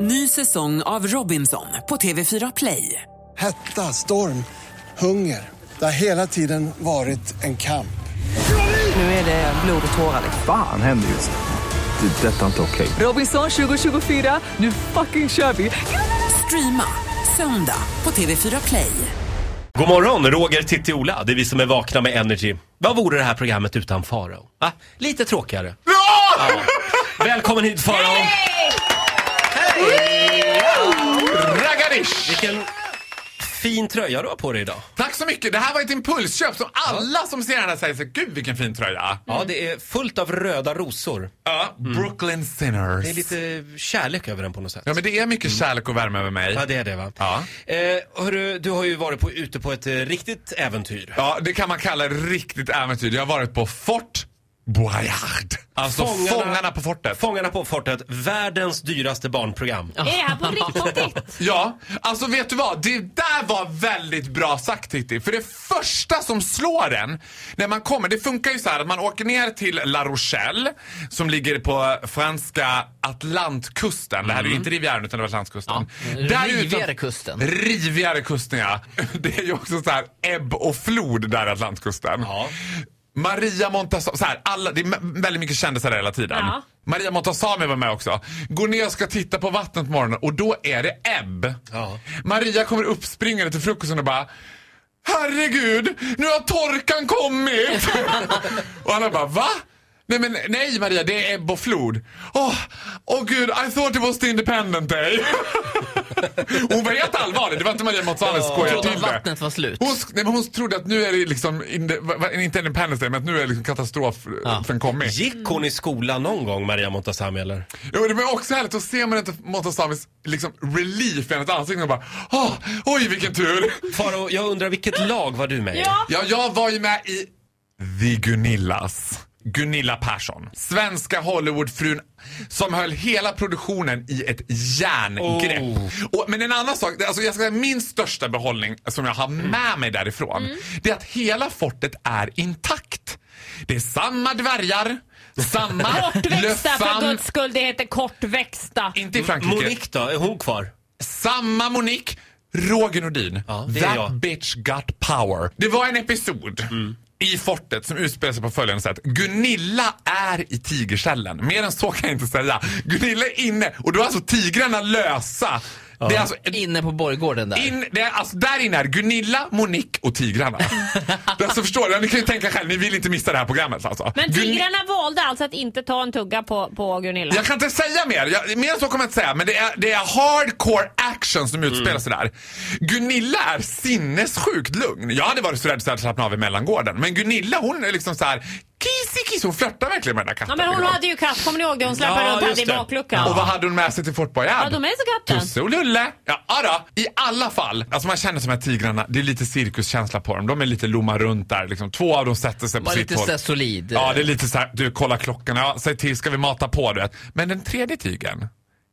Ny säsong av Robinson på TV4 Play. Hetta, storm, hunger. Det har hela tiden varit en kamp. Nu är det blod och tårar. Fan händer just nu. Det. är Detta är inte okej. Robinson 2024, nu fucking kör vi! Streama söndag på TV4 Play. God morgon, Roger, Titti, Ola. Det är vi som är vakna med Energy. Vad vore det här programmet utan Farao? Va? Lite tråkigare. Bra! Ja. Välkommen hit Farao! Raggadish! Vilken fin tröja du har på dig idag. Tack så mycket! Det här var ett impulsköp som alla som ser den här säger så gud vilken fin tröja. Ja, det är fullt av röda rosor. Ja, Brooklyn Sinners. Mm. Det är lite kärlek över den på något sätt. Ja men det är mycket kärlek och värme över mig. Ja, det är det va? Ja. Eh, hörru, du har ju varit på, ute på ett eh, riktigt äventyr. Ja, det kan man kalla riktigt äventyr. Jag har varit på Fort Boyard. Alltså Fångarna, på fortet. Fångarna på fortet, världens dyraste barnprogram. Är det här på riktigt? Ja, alltså vet du vad? Det där var väldigt bra sagt Titti. För det första som slår en när man kommer, det funkar ju så här att man åker ner till La Rochelle som ligger på franska Atlantkusten. Det här är ju inte Rivieran utan det var Atlantkusten. Ja, rivigare utan- kusten. Rivigare kusten ja. Det är ju också så här ebb och flod där i Atlantkusten. Ja. Maria Montazami, så här, alla, det är m- väldigt mycket kändisar där hela tiden. Ja. Maria Montazami var med också. Går ner och ska titta på vattnet på morgonen och då är det ebb. Ja. Maria kommer uppspringande till frukosten och bara Herregud, nu har torkan kommit! och alla bara va? Nej men nej Maria, det är ebb och flod. Åh, oh, gud, I thought it was the independent day. Hon var helt allvarlig, det var inte Maria Montazami som skojade Trodde till att det. vattnet var slut. Hon, sk- nej, men hon trodde att nu är det liksom, in the, va- va- inte Independence Day, men att nu är liksom katastrofen kommit. Gick hon Mm. i skolan någon gång, Maria Montazami eller? Jo, det var också härligt, att se man inte Montazamis liksom relief i hennes ansikte och bara "Åh, oj vilken tur. Faro, jag undrar vilket lag var du med i? Ja. Ja, jag var ju med i The Gunillas. Gunilla Persson. Svenska Hollywoodfrun som höll hela produktionen i ett järngrepp. Oh. Och, men en annan sak, det- alltså jag ska säga, min största behållning som jag har Mm. med mig därifrån, det är att hela fortet är intakt. Det är samma dvärgar, samma Kortväxta för löffan, guds skull, det heter kortväxta. inte i Frankrike, Monique då, är hon kvar? samma Monique, Roger Nordin. Ja, det är That jag. Mm. bitch got power. Det var en episod i fortet som utspelar sig på följande sätt. Gunilla är i tigerkällan. Mer än så kan jag inte säga. Gunilla är inne och då är alltså tigrarna lösa. Det är alltså Inne på borggården där. in, det är, alltså där inne är Gunilla, Monique och tigrarna. det är alltså, förstår du? Ni kan ju tänka själv, ni vill inte missa det här programmet alltså. Men Gun- tigrarna valde alltså att inte ta en tugga på, på Gunilla. Jag kan inte säga mer. Jag, mer än så kommer jag inte säga. Men det är, det är hardcore action som utspelar sig där. Gunilla är sinnessjukt lugn. Jag hade varit så rädd så jag hade slappnat av i mellangården. Men Gunilla hon är liksom så här kissy kiss. Hon flörtar verkligen med den där Ja, katten. men hon liksom. hade ju katt, kommer ni ihåg det? Hon släppte Ja, runt henne just i det. bakluckan. Och vad hade hon med sig till Fort Boyard? Hade hon med sig katten? Tusse och Lulle. Ja, då. I alla fall. Alltså man känner som de här tigrarna, det är lite cirkuskänsla på dem. De är lite lomma runt där liksom. Två av dem sätter sig på Var sitt lite håll. såhär solid. Ja, det är lite så här, du kolla klockan, ja, säg till ska vi mata på du vet. Men den tredje tigern,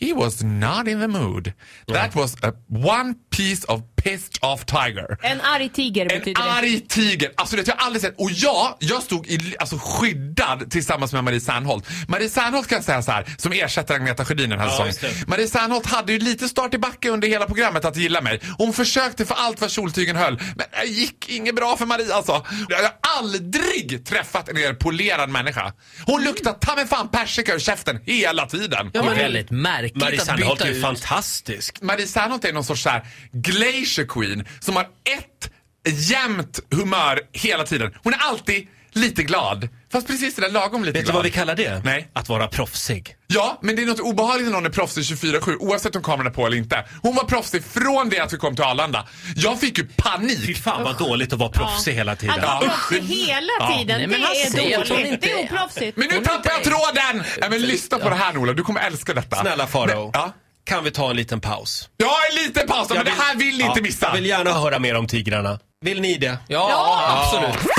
he was not in the mood. That was a one piece of pissed off tiger. En arg tiger En betyder det. arg tiger! Alltså det har jag aldrig sett. Och jag, jag stod i, alltså, skyddad tillsammans med Marie Serneholt. Marie Serneholt kan jag säga så här, som ersätter Agneta Sjödin den här Ja, säsongen. just det. Marie Serneholt hade ju lite start i backe under hela programmet att gilla mig. Hon försökte för allt vad kjoltygen höll. Men det gick inget bra för Marie alltså. Jag har aldrig träffat en mer polerad människa. Hon luktar ta mig fan persika ur käften hela tiden. det är väldigt märkligt Marie att Sandholt byta är ju ut. fantastisk. Marie Serneholt är någon sorts så här glacier queen som har ett jämnt humör hela tiden. Hon är alltid lite glad. Fast precis det där lagom lite Vet du glad. vad vi kallar det? Nej. Att vara proffsig. Ja, men det är något obehagligt när någon är proffsig 24-7 oavsett om kameran är på eller inte. Hon var proffsig från det att vi kom till Arlanda. Jag fick ju Fy panik. fan vad dåligt att vara proffsig hela tiden. Att Ja. vara proffsig hela tiden, Nej, men det han är säger att hon dåligt. inte Det är är- oproffsigt. Men nu Hon är tappar jag inte- tråden! Nej, men lyssna på det här Ola, du kommer älska detta. Snälla Faro, Men- Ja. kan vi ta en liten paus? Jag är lite paus, men Jag det här vill ni inte Ja, missa. Jag vill gärna höra mer om tigrarna. Vill ni det? Ja, absolut.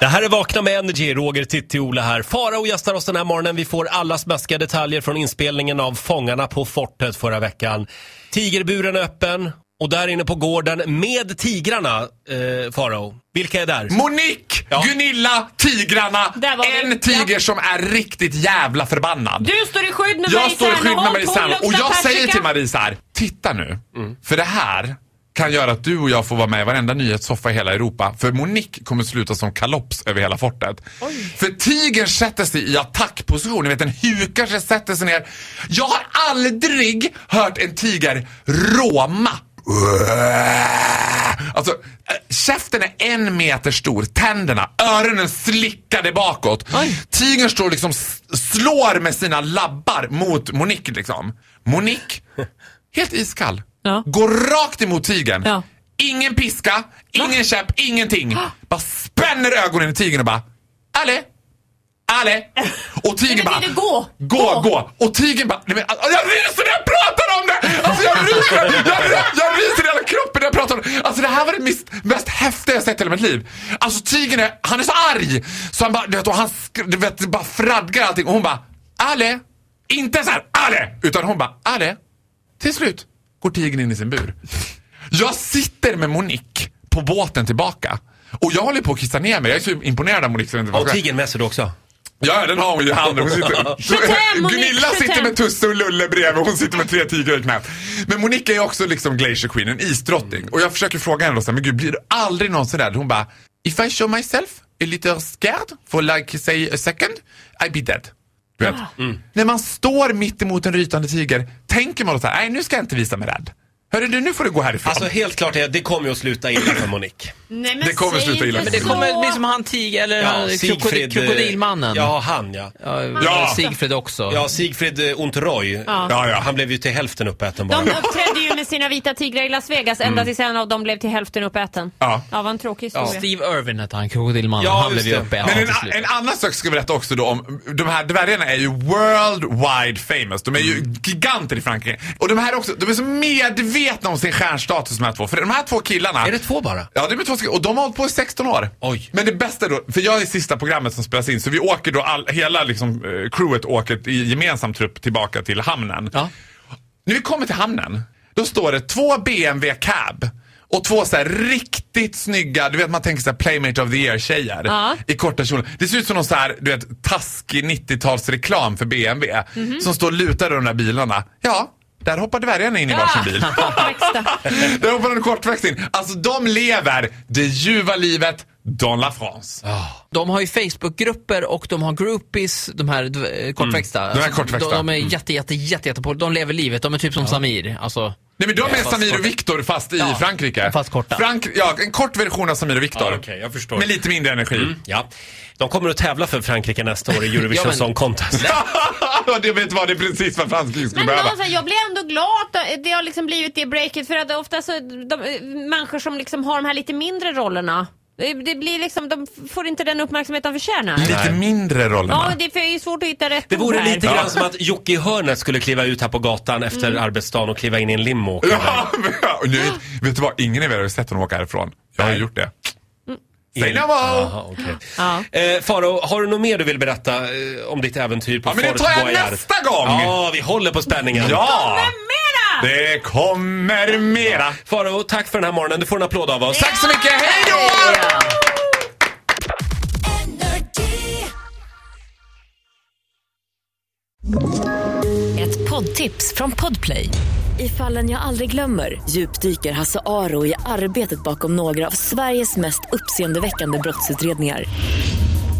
Det här är Vakna med Energy, Roger, Titti, Ola här. Farao gästar oss den här morgonen. Vi får alla smaskiga detaljer från inspelningen av Fångarna på fortet förra veckan. Tigerburen är öppen Och där inne på gården med tigrarna, eh, Farao. Vilka är där? Monique, Ja. Gunilla, tigrarna. Där var vi. En tiger som är riktigt jävla förbannad. Du står i skydd med jag Marie står i skydd med Marie Serneholt, Serneholt hon och luktar jag säger persika. till Marie så här, titta nu. För det här kan göra att du och jag får vara med i varenda nyhetssoffa i hela Europa. För Monique kommer sluta som kalops över hela fortet. För tigern sätter sig i attackposition, ni vet den hukar sig, sätter sig ner. Jag har aldrig hört en tiger råma. Alltså, äh, käften är en meter stor, tänderna, öronen slickade bakåt. Tigern står liksom s- slår med sina labbar mot Monique liksom. Monique, helt iskall. Ja. Går rakt emot tigern. Ja. Ingen piska, ingen käpp, ingenting. Bara spänner ögonen i tigern och bara, alle, alle. Och tigern Men bara, vill du gå? Gå, gå! Och tigern bara... Nej, men, alltså, jag ryser när jag pratar om det! Alltså jag ryser! Jag, ry- jag ryser i hela kroppen när jag pratar om det! Alltså det här var det mest, mest häftiga jag sett i hela mitt liv. Alltså tigern är, han är så arg! Så han bara, du vet, och han sk- du vet, det bara fradgar allting och hon bara... Ale! Inte så här Ale! Utan hon bara Ale! Till slut går tigern in i sin bur. Jag sitter med Monique på båten tillbaka. Och jag håller på att kissa ner mig. Jag är så imponerad av Monique. så jag vet inte vad jag Och ska- tigern med sig då också. Ja, den har hon ju i handen. Hon sitter... Monique, Gunilla 25. sitter med Tusse och Lulle bredvid och hon sitter med tre tigrar i knät. Men Monica är ju också liksom Glacier Queen, en isdrottning. Och jag försöker fråga henne då så här, men gud blir du aldrig någonsin rädd? Hon bara, if I show myself a little scared for like say a second, I'd be dead. Du vet? När man står mitt emot en rytande tiger, tänker man då så här, nej nu ska jag inte visa mig rädd. Hörru du, nu får du gå härifrån. Alltså helt klart är det kommer ju att sluta illa för Monique. Nej, men Det kommer säg sluta illa. inte Men det så. kommer bli som han tiger, eller han- Sigfrid, krokodil, eh, krokodilmannen. Ja, han ja. Ja, Ja. Sigfrid också. Ja, Sigfrid eh, Ontoroy. Ja, ja. Han blev ju till hälften uppäten bara. De uppträdde ju med sina vita tigrar i Las Vegas ända tills en av dem blev till hälften uppäten. Ja. ja vad en tråkig historia. Steve Irwin hette han, krokodilmannen. Ja, han just blev ju det. uppe Men en, till slut. en annan sak ska vi berätta också då om, de här dvärgarna är ju worldwide famous. De är ju Mm. giganter i Frankrike. Och de här också, de är så medvetna om sin stjärnstatus de här två. För de här två killarna. Är det två bara? Ja, det är med två stycken. Och de har hållit på i 16 år. Oj. Men det bästa då, för jag är sista programmet som spelas in, så vi åker då, all, hela liksom, eh, crewet åker i gemensam trupp tillbaka till hamnen. Ja. När vi kommer till hamnen, då står det två BMW cab och två så här riktigt snygga, du vet man tänker så här playmate of the year tjejer Ja. i korta kjolar. Det ser ut som någon så här, du vet, taskig 90-talsreklam för BMW som står lutade i de där bilarna. Ja, där hoppar dvärgarna in i Ah! varsin bil. Verkstad. Där hoppar de kortväxt in. Alltså de lever det ljuva livet dans la France. De har ju Facebookgrupper och de har groupies, de här eh, kortväxta. Mm. de här kortväxta. De, de är jätte, jätte, jätte, jätte på. De lever livet. De är typ som Samir. Alltså, Nej men de är fast Samir korta. och Viktor fast i Ja, Frankrike. fast korta. Frank- ja, en kort version av Samir och Viktor. Ja, okej, jag förstår. Med lite mindre energi. Ja. De kommer att tävla för Frankrike nästa år i Eurovision Ja, men- Song Contest. Och det vet vad det är precis vad Frankrike skulle Men alltså- behöva. någonstans, jag blir ändå glad att det har liksom blivit det breaket för att ofta så de, eh, människor som liksom har de här lite mindre rollerna, det det blir liksom, de får inte den uppmärksamhet de förtjänar. Lite mindre rollerna. Ja, men det är för det är ju svårt att hitta rätt Det ord vore här. lite grann som att Jocke i hörnet skulle kliva ut här på gatan efter arbetsdagen och kliva in i en limo. och åka iväg. Mm. Ja, men- ja, och nu, vet du vad, ingen av er har sett honom åka härifrån. Jag har Nej. gjort det. Say no more. Jaha, okej. Ja. Eh, Faro, har du något mer du vill berätta eh, om ditt äventyr på Ja, men det Fort tar jag Boyard? nästa gång. Ja, vi håller på spänningen. Ja! Mera! Det kommer mera! Faro, tack för den här morgonen. Du får en applåd av oss. Tack så mycket, hej då! Ett poddtips från Podplay. I fallen jag aldrig glömmer djupdyker Hasse Aro i arbetet bakom några av Sveriges mest uppseendeväckande brottsutredningar.